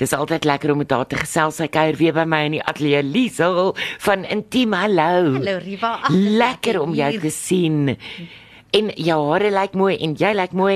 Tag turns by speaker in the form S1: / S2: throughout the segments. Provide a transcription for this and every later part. S1: Dis altyd lekker om met haar te gesels. Sy kuier weer by my in die ateljee Liesel van Intiem. Hallo.
S2: Hallo Riva. Ag,
S1: Lekker om jou
S2: hier.
S1: te sien. En jou hare lyk mooi en jy lyk mooi.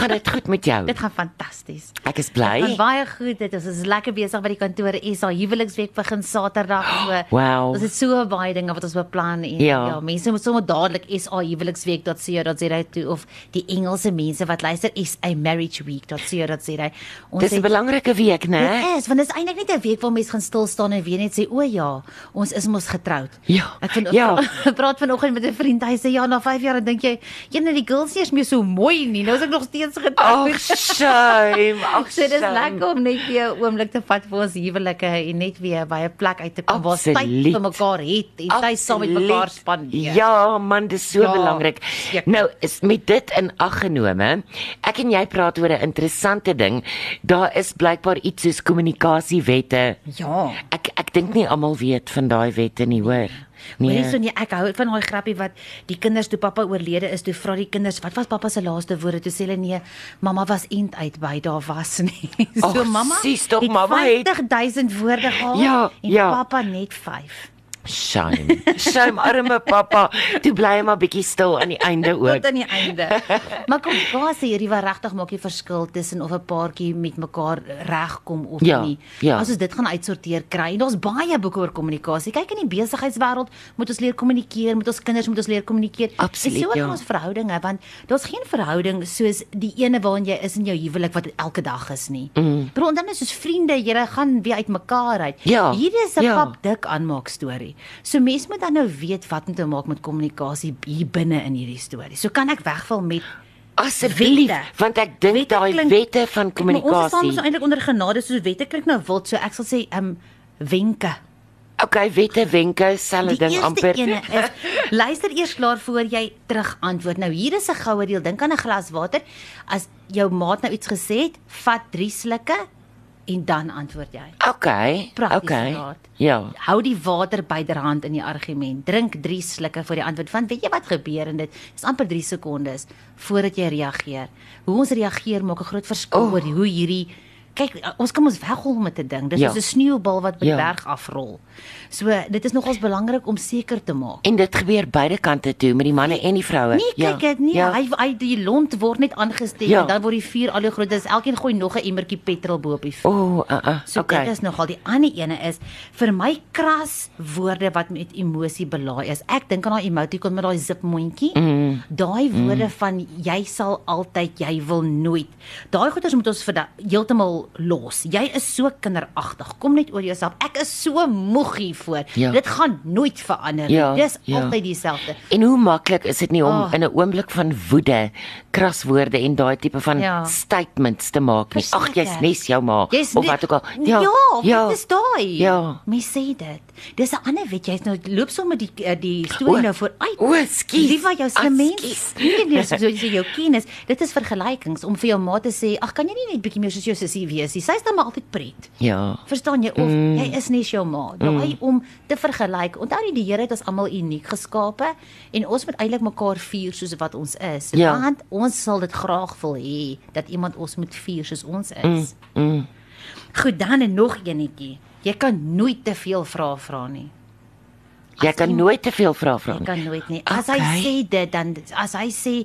S1: Gaan dit goed met jou?
S2: Dit gaan fantasties.
S1: Ek is
S2: Hey.
S1: bly.
S2: Baie goed. Dit is ons is lekker besig by die kantore. SA huweliksweek begin Saterdag. So
S1: Wow.
S2: Ons het so baie dinge wat ons beplan en
S1: Ja.
S2: ja, ja mense moet sommer dadelik SA huweliksweek.co.za toe of die Engelse mense wat luister SA marriageweek.co.za. Ons
S1: Dis 'n belangrike week, né?
S2: Dit is, want dit is eintlik net 'n week waar mense gaan stil staan en weer net sê o ja, ons is mos getroud.
S1: Ja,
S2: Ek vind
S1: ja.
S2: ek praat vanoggend met 'n vriend, hy sê ja, na 5 jaar dan dink jy, "Jene, die girls nie is meer so mooi nie. Nou is ek nog steeds getroud."
S1: Ag, shame. Ag,
S2: so dis
S1: shame.
S2: lekker om net weer 'n oomblik te vat vir ons huwelike en net weer by 'n plek uit te kom waar ons tyd
S1: Absoluut.
S2: vir mekaar het en tyd saam met mekaar
S1: Absoluut.
S2: spandeer.
S1: Ja, man, dis so
S2: Ja,
S1: belangrik.
S2: seker.
S1: Nou, is met dit in ag genome, ek en jy praat oor 'n interessante ding. Daar is blykbaar iets soos kommunikasiewette.
S2: Ja.
S1: Ek ek dink nie almal weet van daai wette nie, hoor.
S2: Nee. Hoorie so nee, ek hou van daai grappie wat die kinders toe pappa oorlede is, toe vra die kinders, "Wat was pappa se laaste woorde?" Toe sê hulle, "Nee, mamma was end uit by daar was nie." so
S1: Ag,
S2: mamma
S1: sies tog, mamma het-
S2: 50000 woorde gehad
S1: Ja,
S2: en
S1: ja.
S2: pappa net 5.
S1: Shame. Shame arme pappa. Toe bly hy maar bietjie stil aan die einde
S2: Tot
S1: ook.
S2: aan die einde. maar kom, daar sê hierdie wat regtig maak die verskil tussen of 'n paartjie met mekaar regkom of
S1: Ja,
S2: nie.
S1: ja.
S2: As ons dit gaan uitsorteer kry. En daar's baie boeke oor kommunikasie. Kyk in die besigheidswêreld moet ons leer kommunikeer, met ons kinders moet ons leer kommunikeer.
S1: Absoluut,
S2: en so ook in
S1: ja.
S2: ons verhoudinge want daar's geen verhouding soos die ene waarin jy is in jou huwelik wat elke dag is nie. Mm. Bro, en dan is soos vriende, julle gaan weer uitmekaar uit.
S1: Ja,
S2: Hierdie is 'n
S1: ja.
S2: pap dik aanmaak storie. So mense moet dan nou weet wat om te maak met kommunikasie hier binne in hierdie storie. So kan ek wegval met
S1: Asseblief,
S2: Wette.
S1: want ek dink
S2: Wette
S1: daai
S2: klink-
S1: wette van
S2: Maar Ons nou is soms
S1: kommunikasie.
S2: eintlik onder genade soos wette klink nou wild, so ek sal sê ehm um, wenke.
S1: Okay, wette, wenke, selfe
S2: Die
S1: ding
S2: eerste
S1: amper.
S2: ene is luister eers klaar voor jy terug antwoord. Nou hier is 'n goue reël. Dink aan 'n glas water. As jou maat nou iets gesê het, vat 3 slukke en dan antwoord jy.
S1: Okay.
S2: Prakties
S1: Okay.
S2: raad.
S1: Ja.
S2: Hou die water byderhand in die argument. Drink 3 slukke voor die antwoord. Want weet jy wat gebeur en dit is amper 3 sekondes voordat jy reageer. Hoe ons reageer maak 'n groot verskil oh. oor hoe hierdie kyk ons kan ons weghol met 'n ding. Dis
S1: Ja.
S2: soos 'n sneeubal wat by die
S1: Ja.
S2: berg afrol. So dit is nogals belangrik om seker te maak
S1: En dit gebeur beide kante toe met die manne en die vroue.
S2: Nee, kyk dit nie. Ja. Hy hy die lont word net
S1: Ja.
S2: aangesteek ja. en dan word die vuur al hoe groter. Dis elkeen gooi nog 'n emmertjie petrol bo op die vuur.
S1: O, oh, uh, uh,
S2: So okay.
S1: okay.
S2: dit is nogal die ander ene is vir my kras woorde wat met emosie belaai is. Ek dink aan daai emoticon met daai zip mondjie. Mm. Daai woorde mm. van jy sal altyd, jy wil nooit. Daai goeters moet ons vir da- heeltemal los. Jy is so kinderagtig. Kom net oor jouself. Ek is so moeg hiervoor.
S1: Ja.
S2: Ja. Dit gaan nooit verander nie.
S1: Ja,
S2: Ja. Dis
S1: ja.
S2: ja. altyd dieselfde.
S1: En hoe maklik is dit nie om
S2: Oh.
S1: in 'n oomblik van woede kraswoorde en daai tipe van
S2: Ja.
S1: statements te maak nie. Ag, jy's
S2: Verseker.
S1: nes jou ma
S2: Jy's
S1: of
S2: nie-
S1: wat ook al.
S2: Ja, ja, ja dit is daai.
S1: Ja.
S2: Mens sê dit. Dis 'n ander wet, jy's nou loop sommer die eh, die
S1: O,
S2: storie nou vooruit.
S1: o, ah, ekskuus.
S2: Lief vir jou slim
S1: Ekskuus.
S2: mens. Nie net so jy sê jou kennis, dit is vergelykings om vir jou ma te sê, ag kan jy nie net bietjie meer soos jou sussie wees nie. Sy's dan maar altyd pret.
S1: Ja.
S2: Verstaan jy of mm. jy is nie jou ma. Daai mm. om te vergelyk. Onthou nie die Here het ons almal uniek geskape en ons moet eintlik mekaar vier soos wat ons is.
S1: Ja.
S2: Want ons sal dit graag wil hê dat iemand ons moet vier soos ons is. Mm. Mm. Goed dan en nog enetjie. Jy kan nooit te veel vrae vra nie.
S1: Jy kan nooit te veel vra vra
S2: Jy
S1: nie.
S2: kan nooit nie. As okay.
S1: Okay.
S2: hy sê dit dan as hy sê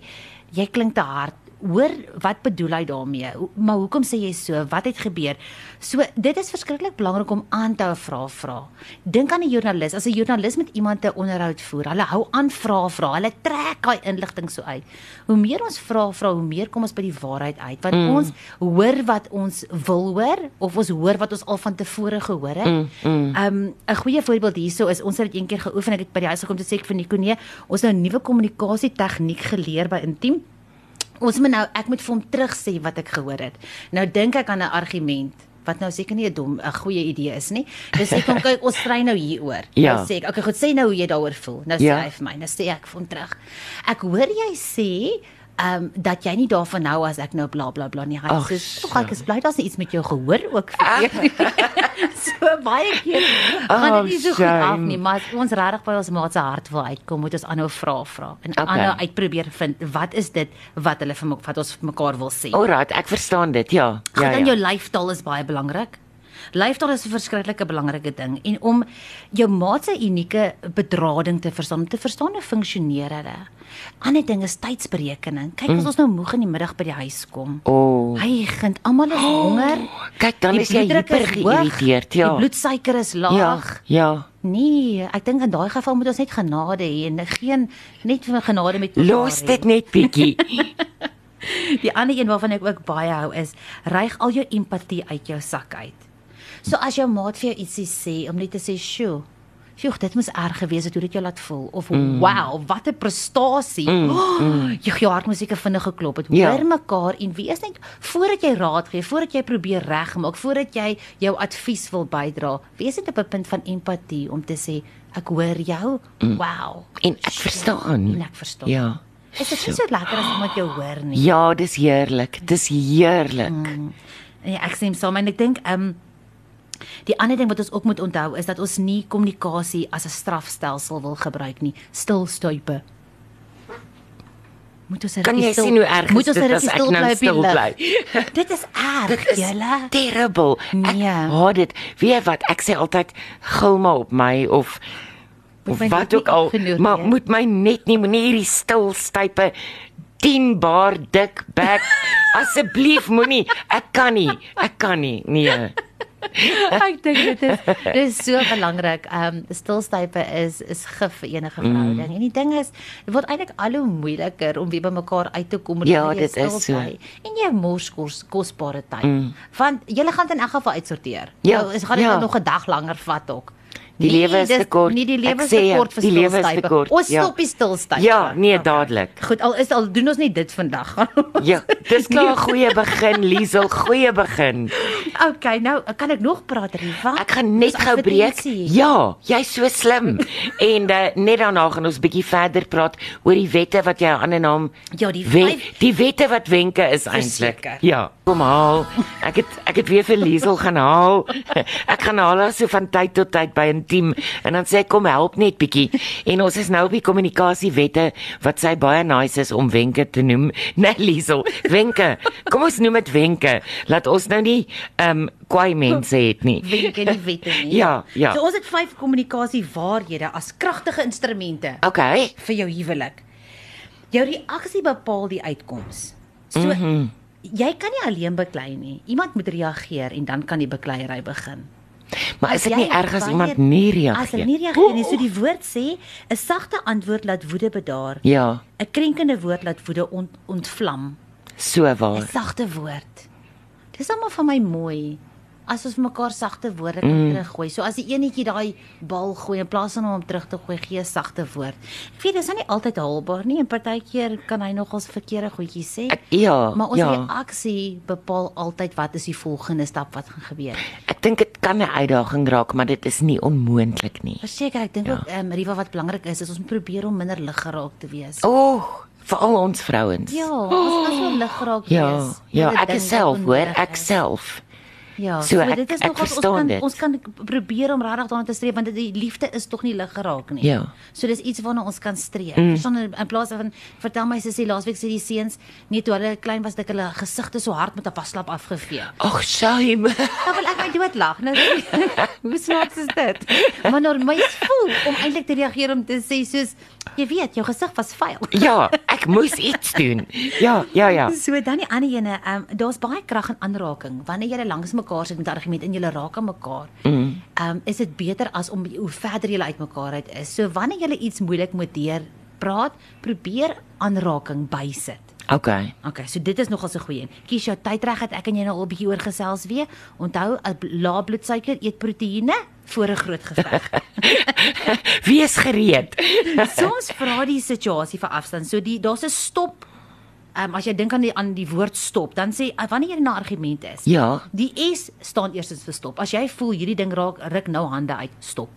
S2: jy klink te hard, hoor wat bedoel hy daarmee? Ho- Maar hoekom sê jy so? Wat het gebeur? So dit is verskriklik belangrik om aan te hou vra vra. Dink aan 'n joernalis. As 'n joernalis met iemand 'n onderhoud voer, hulle hou aan vra vra. Hulle trek daai inligting so uit. Hoe meer ons vra vra, hoe meer kom ons by die waarheid uit. Want mm. ons hoor wat ons wil hoor of ons hoor wat ons al van tevore gehoor het. Mm, mm. Um 'n goeie voorbeeld hierso is ons het dit eendag geoefen. Ek het by die huis gekom te sê ek vir Nico nee, ons het nou 'n nuwe kommunikasie tegniek geleer by Intiem. Ons moet nou ek moet vir hom terug sê wat ek gehoor het. Nou dink ek aan 'n argument wat nou seker nie 'n dom 'n goeie idee is nie. Dis ek kom kyk ons stry nou hieroor.
S1: Ja.
S2: Nou sê ek, okay, goed, sê nou hoe jy daaroor voel. Nou
S1: Ja.
S2: sê hy vir my, nou sê ek vir hom terug. Ek hoor jy sê ehm um, dat jy nie daarvan hou as ek nou bla bla bla nie. Hy
S1: Ag,
S2: sê, "Ag, ek is bly daar's nie iets met jou gehoor ook verkeerd." nie." so baie keer gaan
S1: Oh,
S2: dit nie so goed af
S1: shame.
S2: nie, maar as ons regtig by ons maat se hart wil uitkom, moet ons aanhou vra vra en
S1: Okay.
S2: aanhou uitprobeer vind wat is dit wat hulle vir my, wat ons vir mekaar wil sê.
S1: Alraai, ek verstaan dit. Ja. Ja.
S2: Gaan dan
S1: ja.
S2: jou lyfstaal is baie belangrik. Lyfstaal is 'n verskriklike belangrike ding en om jou maat se unieke bedrading te verstaan, om te verstaan hoe funksioneer hulle. Ander ding is tydsberekening. Kyk, as ons nou moeg in die middag by die huis kom.
S1: Mm. O, oh,
S2: Hy gind almal is honger.
S1: kyk dan
S2: die
S1: is jy
S2: bloeddruk
S1: hyper
S2: is
S1: geïrriteerd,
S2: hoog,
S1: ja.
S2: Die bloedsuiker is
S1: ja,
S2: laag. Ja.
S1: ja.
S2: Nee, ek dink in daai geval moet ons net genade hê en geen net vir genade met mekaar
S1: Los
S2: hê.
S1: dit net bietjie.
S2: Die ander een waarvan ek ook baie hou is reig al jou empatie uit jou sak uit. So as jou maat vir jou ietsie sê om net te sê, "Sjoe, sjoe, dit moes erg gewees het hoe dit jou laat voel" of
S1: Mm.
S2: "Wow, wat 'n prestasie." Mm, oh, jou, jou hart moet seker vinnig geklop het. Hoor
S1: Ja.
S2: mekaar en wees net voordat jy raad gee, voordat jy probeer regmaak, voordat jy jou advies wil bydra, wees net op 'n punt van empatie om te sê, "Ek hoor jou. Wow."
S1: Mm. En ek verstaan.
S2: En ek verstaan.
S1: Ja.
S2: Is dit
S1: So.
S2: nie so lekker as iemand jou hoor nie?
S1: Ja, dis heerlik. Dis
S2: Mm.
S1: heerlik.
S2: Ja, ek stem saam en ek dink ehm um, die ander ding wat ons ook moet onthou is dat ons nie kommunikasie as 'n strafstelsel wil gebruik nie. Stilstuipe. Moet ons 'n
S1: Kan jy
S2: rukkie
S1: sien hoe erg
S2: moet
S1: is
S2: ons 'n
S1: dit as
S2: rukkie
S1: ek nou
S2: op die
S1: stil
S2: lig?
S1: bly?
S2: Dit is erg,
S1: Dit is
S2: julle.
S1: terrible. Ek
S2: Nee.
S1: haat dit. Weet jy wat? Ek sê altyd gil maar op my of of
S2: my net
S1: wat
S2: nie
S1: ook al,
S2: opgenoem
S1: maar
S2: nie.
S1: moet my net nie moenie hierdie stil stype 10 baar dik bek asseblief moenie. Ek kan nie. Ek kan nie. Nee.
S2: ek dink dit is dis so belangrik. Ehm um, stilstype is is gif vir enige verhouding. Mm. En die ding is, dit word eintlik al hoe moeiliker om weer by mekaar uit te kom
S1: Ja,
S2: wanneer jy
S1: dit is
S2: stil bly. En jy mors kos, kosbare tyd. Mm. Want jy gaan dit in elk geval uitsorteer.
S1: Ja,
S2: nou, is gaan dit
S1: ja.
S2: nou nog 'n dag langer vat ook.
S1: Die
S2: Nee,
S1: lewe is
S2: dis-
S1: te kort.
S2: Nee, die
S1: Ek
S2: lewe is
S1: sê
S2: te
S1: jou,
S2: kort vir
S1: die lewe is te
S2: stilstype.
S1: kort,
S2: Ons
S1: ja.
S2: stop die stilstype.
S1: Ja, nee,
S2: Okay.
S1: dadelik.
S2: Goed, al is al doen ons nie dit vandag.
S1: Ja, dis nou 'n goeie begin, Liesel, goeie begin.
S2: okay, nou kan ek nog praat, Riva?
S1: Ek gaan net
S2: Dis
S1: gou breek.
S2: advertensie.
S1: Ja, jy's so slim. en uh, net daarna gaan ons bietjie verder praat oor die wette wat jy aan 'n naam
S2: Ja, die
S1: wen-
S2: vyf-
S1: die wette wat wenke is eintlik.
S2: Verseker.
S1: Ja. Kom haal. Ek het ek het weer vir Liesel gaan haal. Ek gaan haal haar so van tyd tot tyd by 'n team en dan sê ek kom help net bietjie. En ons is nou op die kommunikasiewette wat sy baie nice is om wenke te noem. Nee Liesel, wenke. Kom ons noem dit wenke. Laat ons nou nie ehm um, kwaai mense het nie.
S2: wenke nie wette nie.
S1: Ja, ja.
S2: So ons het vyf kommunikasiewaarhede as kragtige instrumente
S1: Okay.
S2: vir jou huwelik. Jou reaksie bepaal die uitkoms. So mm
S1: Mhm.
S2: -hmm. jy kan nie alleen beklei nie. Iemand moet reageer en dan kan die bekleierery begin.
S1: Maar is dit nie
S2: jy
S1: erg as
S2: baie-
S1: iemand nie
S2: As hulle
S1: reageer
S2: nie reageer nie, so die woord sê 'n sagte antwoord laat woede bedaar.
S1: Ja,
S2: 'n Krenkende woord laat woede ont, ontvlam.
S1: so
S2: 'n
S1: waar.
S2: Sagte woord. Dis almal van my mooi. As ons vir mekaar sagte woorde kan mm. teruggooi. So as die enetjie daai bal gooi in plaas van hom om terug te gooi, gee 'n sagte woord. Ek weet dis nou nie altyd haalbaar nie en partykeer kan hy nogals verkeerde goedjies sê.
S1: Ek ja,
S2: maar ons
S1: ja.
S2: reaksie bepaal altyd wat is die volgende stap wat gaan gebeur.
S1: Ek dink dit kan 'n uitdaging raak, maar dit is nie onmoontlik nie.
S2: Verseker, ek dink ja. ook ehm um, Riva wat belangrik is, is ons moet probeer om minder lig geraak te wees.
S1: O, oh, veral ons vrouens.
S2: Ja, ons kan so lig geraak
S1: ja,
S2: wees.
S1: ja,
S2: Dit
S1: ek
S2: ding
S1: is
S2: wat
S1: self hoor,
S2: onnodig
S1: ek
S2: is.
S1: self.
S2: Ja,
S1: So
S2: so,
S1: ek-
S2: dit is
S1: ek
S2: nog ons
S1: verstaan
S2: kan
S1: dit.
S2: ons kan probeer om regtig daarna te streef want dit die liefde is tog nie lig geraak nie.
S1: Ja.
S2: So dis iets waarna ons kan streef. Mm. Verstaan in, in plaas van vertel my sussie laasweek sê die seuns nee toe hulle klein was dat ek hulle gesigte so hard met 'n waslap afgevee.
S1: Ag, shame.
S2: Dan wil ek my doodlag. Nou hoe snaaks is dit? Maar nou my is voel om eintlik te reageer om te sê soos jy weet jou gesig was vuil.
S1: ja, ek moes iets doen. Ja, ja, ja.
S2: So dan die ander ene, ehm um, daar's baie krag in aanraking. Wanneer julle langs mekaar sit met 'n argument en julle raak aan mekaar, ehm mm. um, is dit beter as om hoe verder julle uitmekaar uit is. So wanneer julle iets moeilik moet deur praat, probeer aanraking bysit.
S1: Okay.
S2: Okay, so dit is nogal 'n goeie een. Kies jou tyd reg dat ek en jy nou al 'n bietjie oor gesels weer. Onthou, a- lae bloedsuiker, eet proteïene voor 'n groot geveg.
S1: Wees gereed.
S2: Soms vra die situasie vir afstand. So die daar's 'n stop. Ehm um, as jy dink aan die aan die woord stop, dan sê ah, wanneer jy na 'n argument is.
S1: Ja.
S2: Die S staan eerstens vir stop. As jy voel hierdie ding raak ruk nou hande uit, stop.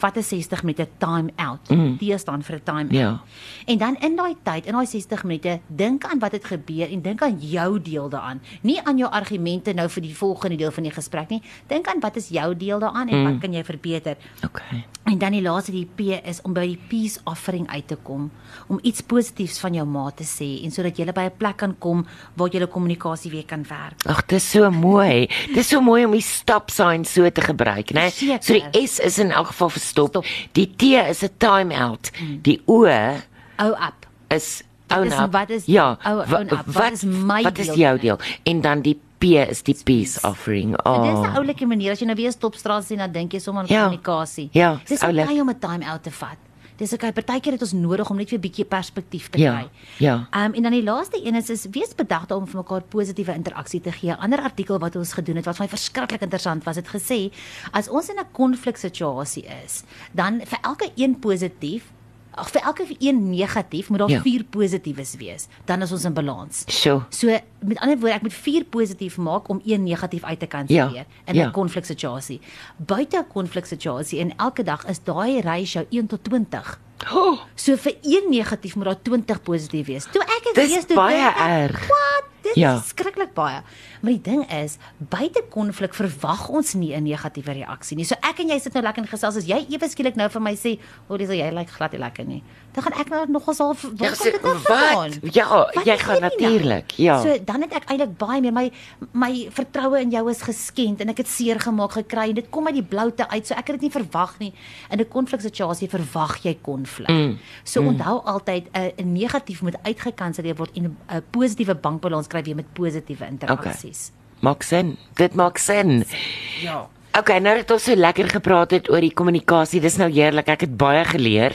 S2: vat 'n 60 minute time out. Mm. Tee staan vir 'n time out.
S1: Mhm. Ja.
S2: En dan in daai tyd, in daai 60 minute, dink aan wat het gebeur en dink aan jou deel daaraan. Nie aan jou argumente nou vir die volgende deel van die gesprek nie. Dink aan wat is jou deel daaraan en
S1: Mhm.
S2: mm. wat kan jy verbeter?
S1: Okay.
S2: En dan die laaste die P is om by die peace offering uit te kom, om iets positiefs van jou ma te sê en sodat jy by 'n plek kan kom waar jy kommunikasie weer kan werk.
S1: Ag, dis so mooi. Dis so mooi om die stop sign so te gebruik, né? Nee?
S2: Verseker.
S1: So die S is in elk geval verstop.
S2: Stop.
S1: Stop. Die T is 'n time out. Die O
S2: Ou app.
S1: is
S2: is
S1: own up.
S2: Hmm. wat is-
S1: ja,
S2: ou-
S1: wa-
S2: own up. Wat is my
S1: Wat
S2: deel
S1: is jou deel? En dan die P is die peace offering.
S2: Oh. Dit is 'n
S1: Oh.
S2: oulike manier as jy nou weer stopstraat sien dan dink jy sommer aan
S1: Ja.
S2: kommunikasie.
S1: Ja,
S2: Dis
S1: is oulik.
S2: okay om 'n time out te vat. Dis okay. Partykeer het ons nodig om net weer 'n bietjie perspektief te
S1: Ja,
S2: kry.
S1: ja.
S2: Ehm um, en dan die laaste een is is wees bedag daaroor om vir mekaar positiewe interaksie te gee. 'n Ander artikel wat ons gedoen het wat vir my verskriklik interessant was, het gesê as ons in 'n konfliksituasie is, dan vir elke een positief Ag vir elke een negatief moet daar ja.
S1: Ja.
S2: vier positiefes wees, dan is ons in balans.
S1: So.
S2: So met ander woorde, ek moet vier positief maak om een negatief uit te kanselleer
S1: Ja,
S2: in 'n
S1: ja.
S2: konfliksituasie. Buite 'n konfliksituasie en elke dag is daai ratio 1 tot 20.
S1: Oh,
S2: So vir een negatief moet daar 20 positief wees. Toe ek dit
S1: Dis
S2: lees, toe
S1: baie
S2: dink ek,
S1: erg.
S2: Wat? Dit ja.
S1: Ja.
S2: is skrikkelik baie. Maar die ding is, buite konflik verwag ons nie 'n negatiewe reaksie nie. So ek en jy sit nou lekker en gesels as jy ewe skielik nou vir my sê, "O, dis jy lyk like glad nie lekker nie." Dan gaan ek nou nogals half
S1: ja,
S2: kom
S1: so,
S2: dit nou
S1: wat?
S2: vandaan?
S1: Ja,
S2: Wat
S1: jy
S2: is
S1: gaan
S2: hierdie nou?
S1: natuurlik. Ja.
S2: So dan het ek eintlik baie meer my my vertroue in jou is geskend en ek het seer gemaak gekry en dit kom uit die bloute uit. So ek het dit nie verwag nie. In 'n konfliksituasie verwag jy konflik. Mm. So mm. onthou altyd 'n uh, negatief moet uitgekanselleer word en 'n uh, positiewe bankbalans kry weer met positiewe interaksies.
S1: Maak sin. Dit maak sin.
S2: Okay. Ja.
S1: Okay, nou dat ons so lekker gepraat het oor die kommunikasie, dis nou heerlik. Ek het baie geleer.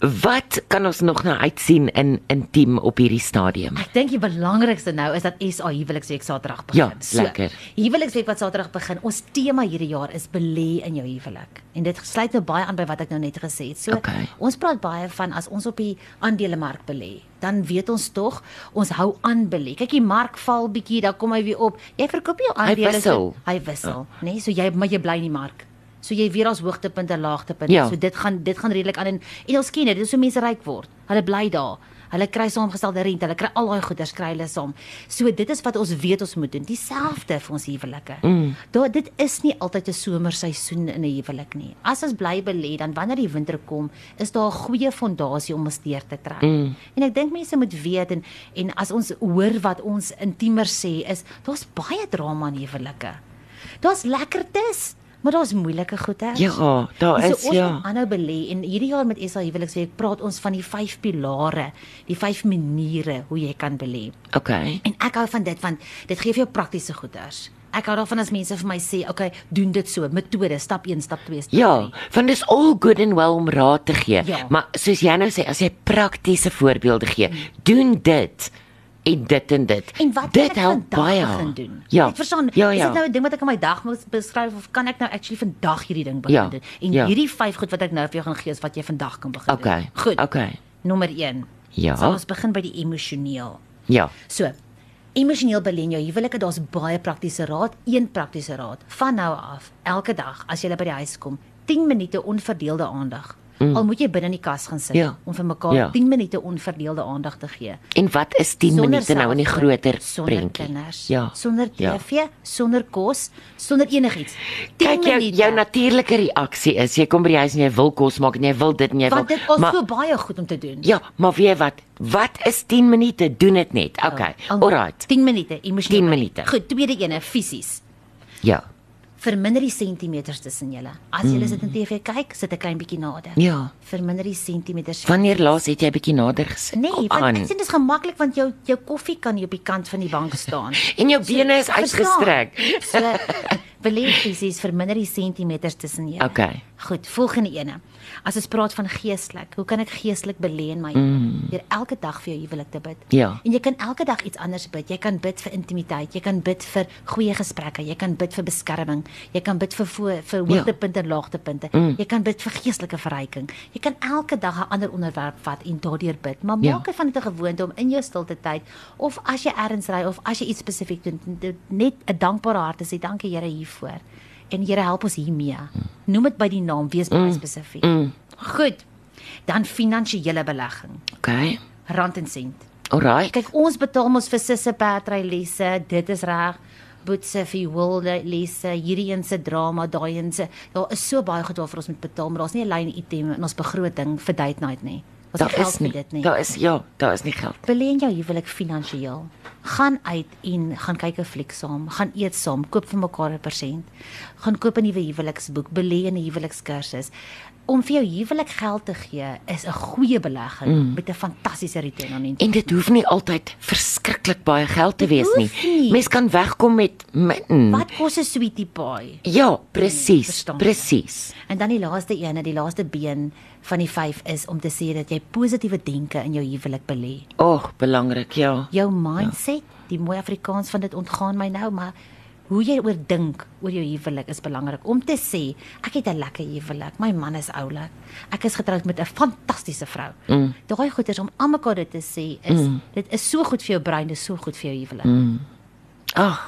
S1: Wat kan ons nog nou uitsien in intiem op hierdie stadium?
S2: Ek dink die belangrikste nou is dat SA Huweliksweek Saterdag begin.
S1: Ja, lekker.
S2: Huweliksweek wat Saterdag begin. Ons tema hierdie jaar is belê in jou huwelik. En dit sluit nou baie aan by wat ek nou net gesê het. So
S1: Okay.
S2: ons praat baie van as ons op die aandelemark belê, dan weet ons tog ons hou aan belê. Kyk, die mark val bietjie, dan kom hy weer op. Jy verkoop jou aandele.
S1: wissel. Ja.
S2: So, hy wissel, oh. né? Nee? So jy maar jy bly in die mark. So jy weet daar's hoogtepunte en laagtepunte.
S1: Ja.
S2: So dit gaan dit gaan redelik aan en, en ons ken dit, dit is hoe mense ryk word. Hulle bly daar. Hulle kry saamgestelde rente, hulle kry al daai goeders kry hulle saam. So dit is wat ons weet ons moet doen. Dieselfde vir ons huwelike. Mm. Daar dit is nie altyd 'n somerseisoen in 'n huwelik nie. As ons bly belê, dan wanneer die winter kom, is daar 'n goeie fondasie om ons deur te trek. Mm. En ek dink mense moet weet en en as ons hoor wat ons intiemer sê is, daar's baie drama in huwelike. Daar's lekkertes, maar daar's moeilike goeders.
S1: Ja, daar
S2: En
S1: is
S2: so ons
S1: ja.
S2: moet aanhou belê en hierdie jaar met SA Huweliksweek praat ons van die vyf pilare, die vyf maniere hoe jy kan belê.
S1: Okay.
S2: En ek hou van dit want dit gee vir jou praktiese goeders. Ek hou daarvan as mense vir my sê, "Oké, doen dit so, metode, stap 1, stap 2, stap 3."
S1: Ja, want dis all good and well om raad te gee,
S2: Ja.
S1: maar soos jy nou sê, as jy praktiese voorbeelde gee, doen dit en dit en dit.
S2: En wat kan
S1: dit
S2: ek
S1: help
S2: vandag
S1: baie
S2: begin doen?
S1: Ja.
S2: Ek verstaan,
S1: Ja,
S2: is
S1: ja.
S2: dit nou 'n ding wat ek in my dag moet beskryf of kan ek nou actually vandag hierdie ding begin
S1: Ja,
S2: doen? En
S1: ja.
S2: hierdie vyf goed wat ek nou vir jou gaan gee is wat jy vandag kan begin
S1: Okay.
S2: doen. Goed.
S1: Okay.
S2: Nommer 1.
S1: Ja.
S2: So ons begin by die emosioneel.
S1: Ja.
S2: So, emosioneel belê in jou huwelike, daar's baie praktiese raad, een praktiese raad. Van nou af, elke dag as jy by die huis kom, 10 minute onverdeelde aandag. Mm. Al moet jy binne in die kas gaan sit
S1: Ja.
S2: om vir mekaar ja.
S1: Ja.
S2: 10 minute onverdeelde aandag te gee.
S1: En wat is 10 minute nou in die
S2: selfoon,
S1: groter
S2: sonder
S1: prentjie?
S2: kinders,
S1: Ja.
S2: sonder
S1: Ja.
S2: TV, ja. sonder kos, sonder enigiets. 10
S1: Kyk jou
S2: minute.
S1: jou natuurlike reaksie is jy kom by die huis en jy wil kos maak en jy wil dit en jy wil
S2: want dit is
S1: maar
S2: so baie goed om te doen.
S1: ja, maar weet jy wat? Wat is 10 minute? Doen dit net. Okay.
S2: Ja, Al-
S1: Alrite.
S2: 10 minute emosioneel.
S1: 10
S2: belê.
S1: minute.
S2: Goed, tweede ene fisies.
S1: Ja.
S2: verminder die sentimeters tussen julle. As julle sit en TV kyk, sit 'n klein bietjie nader.
S1: Hmm. Ja.
S2: Verminder die sentimeters.
S1: Wanneer laas het jy bietjie nader gesit?
S2: Nee,
S1: Kom
S2: want
S1: aan.
S2: ek sien dis gemaklik want jou jou koffie kan hier op die kant van die bank staan.
S1: En jou bene is uitgestrek.
S2: So beleef fisies verminder die sentimeters tussen julle.
S1: Okay.
S2: Goed, volgende ene. As ons praat van geestelik, hoe kan ek geestelik belê in my mm. deur elke dag vir jou huwelik te bid?
S1: Hmm. Ja.
S2: En jy kan elke dag iets anders bid. Jy kan bid vir intimiteit, jy kan bid vir goeie gesprekke, jy kan bid vir beskerming, jy kan bid vir voor,
S1: Ja.
S2: vir hoogtepunte en laagtepunte. Mm. Jy kan bid vir geestelike verryking. Jy kan elke dag 'n ander onderwerp vat en daardeur bid, maar
S1: Ja.
S2: maak dit van dit 'n gewoonte om in jou stilte tyd of as jy ergens ry of as jy iets spesifiek doen, dit- net 'n dankbare hart te sê, dankie Here hiervoor. En Here help ons hiermee. Noem dit by die naam, wees baie spesifiek.
S1: Mm.
S2: Goed. Dan finansiële belegging,
S1: Okay.
S2: rand en sent.
S1: Alraai.
S2: Kyk, ons betaal mos vir sisse Patry lesse, dit is reg. Boetse vir wilde lesse, hierdie een se drama, daai een se. Daar is so baie goed waarvoor ons moet betaal, maar daar's nie 'n lyn item in ons begroting vir date night nie. Ons het
S1: Daar
S2: geld
S1: is
S2: vir
S1: nie.
S2: dit nie.
S1: Daar is ja, daar is nie geld.
S2: Belê in jou huwelik finansiëel. Gaan uit en gaan kyk 'n fliek saam, gaan eet saam, koop vir mekaar 'n persent. Gaan koop 'n nuwe huweliksboek, belê in 'n huwelikskursus. Om vir jou huwelik geld te gee is 'n goeie belegging mm. met 'n fantastiese return on investment.
S1: En dit hoef nie altyd verskriklik baie geld te
S2: Dit
S1: wees nie.
S2: hoef nie.
S1: Mens kan wegkom met min.
S2: Wat Nee, kos 'n sweetie pie?
S1: Ja, presies,
S2: Verstaan.
S1: presies.
S2: En dan die laaste een, die laaste been van die vyf is om te sê dat jy positiewe denke in jou huwelik belê.
S1: Ag, Oh, belangrik, ja.
S2: Jou mindset, die mooi Afrikaans van dit ontgaan my nou, maar hoe jy oor dink oor jou huwelik is belangrik om te sê ek het 'n lekker huwelik, my man is oulik, ek is getroud met 'n fantastiese vrou. Mm. Daai goeters om aan mekaar dit te sê is mm. dit is so goed vir jou brein, dit is so goed vir jou huwelik. Mm.
S1: Ag,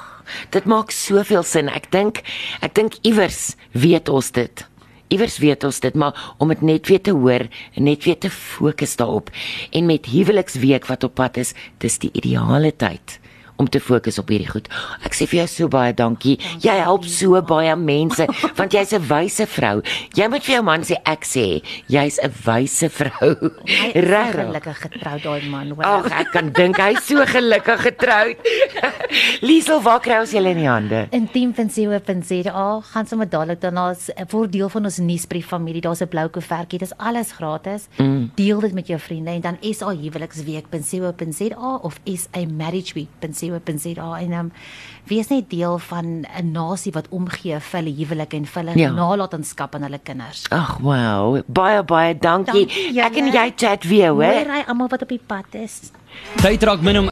S1: dit maak soveel sin. Ek dink, ek dink iewers weet ons dit. Iewers weet ons dit, maar om dit net weer te hoor en net weer te fokus daarop. En met huweliksweek wat op pad is, dis die ideale tyd om te fokus op hierdie goed. Ek sê vir jou so baie dankie. Jy help so baie mense want jy's 'n wyse vrou. Jy moet vir jou man sê ek sê jy's 'n wyse vrou.
S2: Hy is so
S1: Regtig.
S2: gelukkig getroud daai man. hoor.
S1: Ag, ek kan dink hy's so gelukkig getroud. Liesel, waar kry ons julle in die hande?
S2: Intiem.co.za gaan sommer dadelik daarna s- word deel van ons nuusbrief familie. Daar's 'n blou koevertjie. Dit is alles gratis. Mm. Deel dit met jou vriende en dan SA huweliksweek.co.za of SA marriageweek.co.za en um, wees net deel van 'n nasie wat omgee vir hulle huwelik en vir hulle
S1: Ja.
S2: ja. nalatenskap aan hulle kinders.
S1: Ag, wow. Baie baie dankie.
S2: Dankie
S1: dankie
S2: julle.
S1: ek en jy chat weer, hoor.
S2: Hoor hy almal wat op die pad is.
S3: Tyd raak min om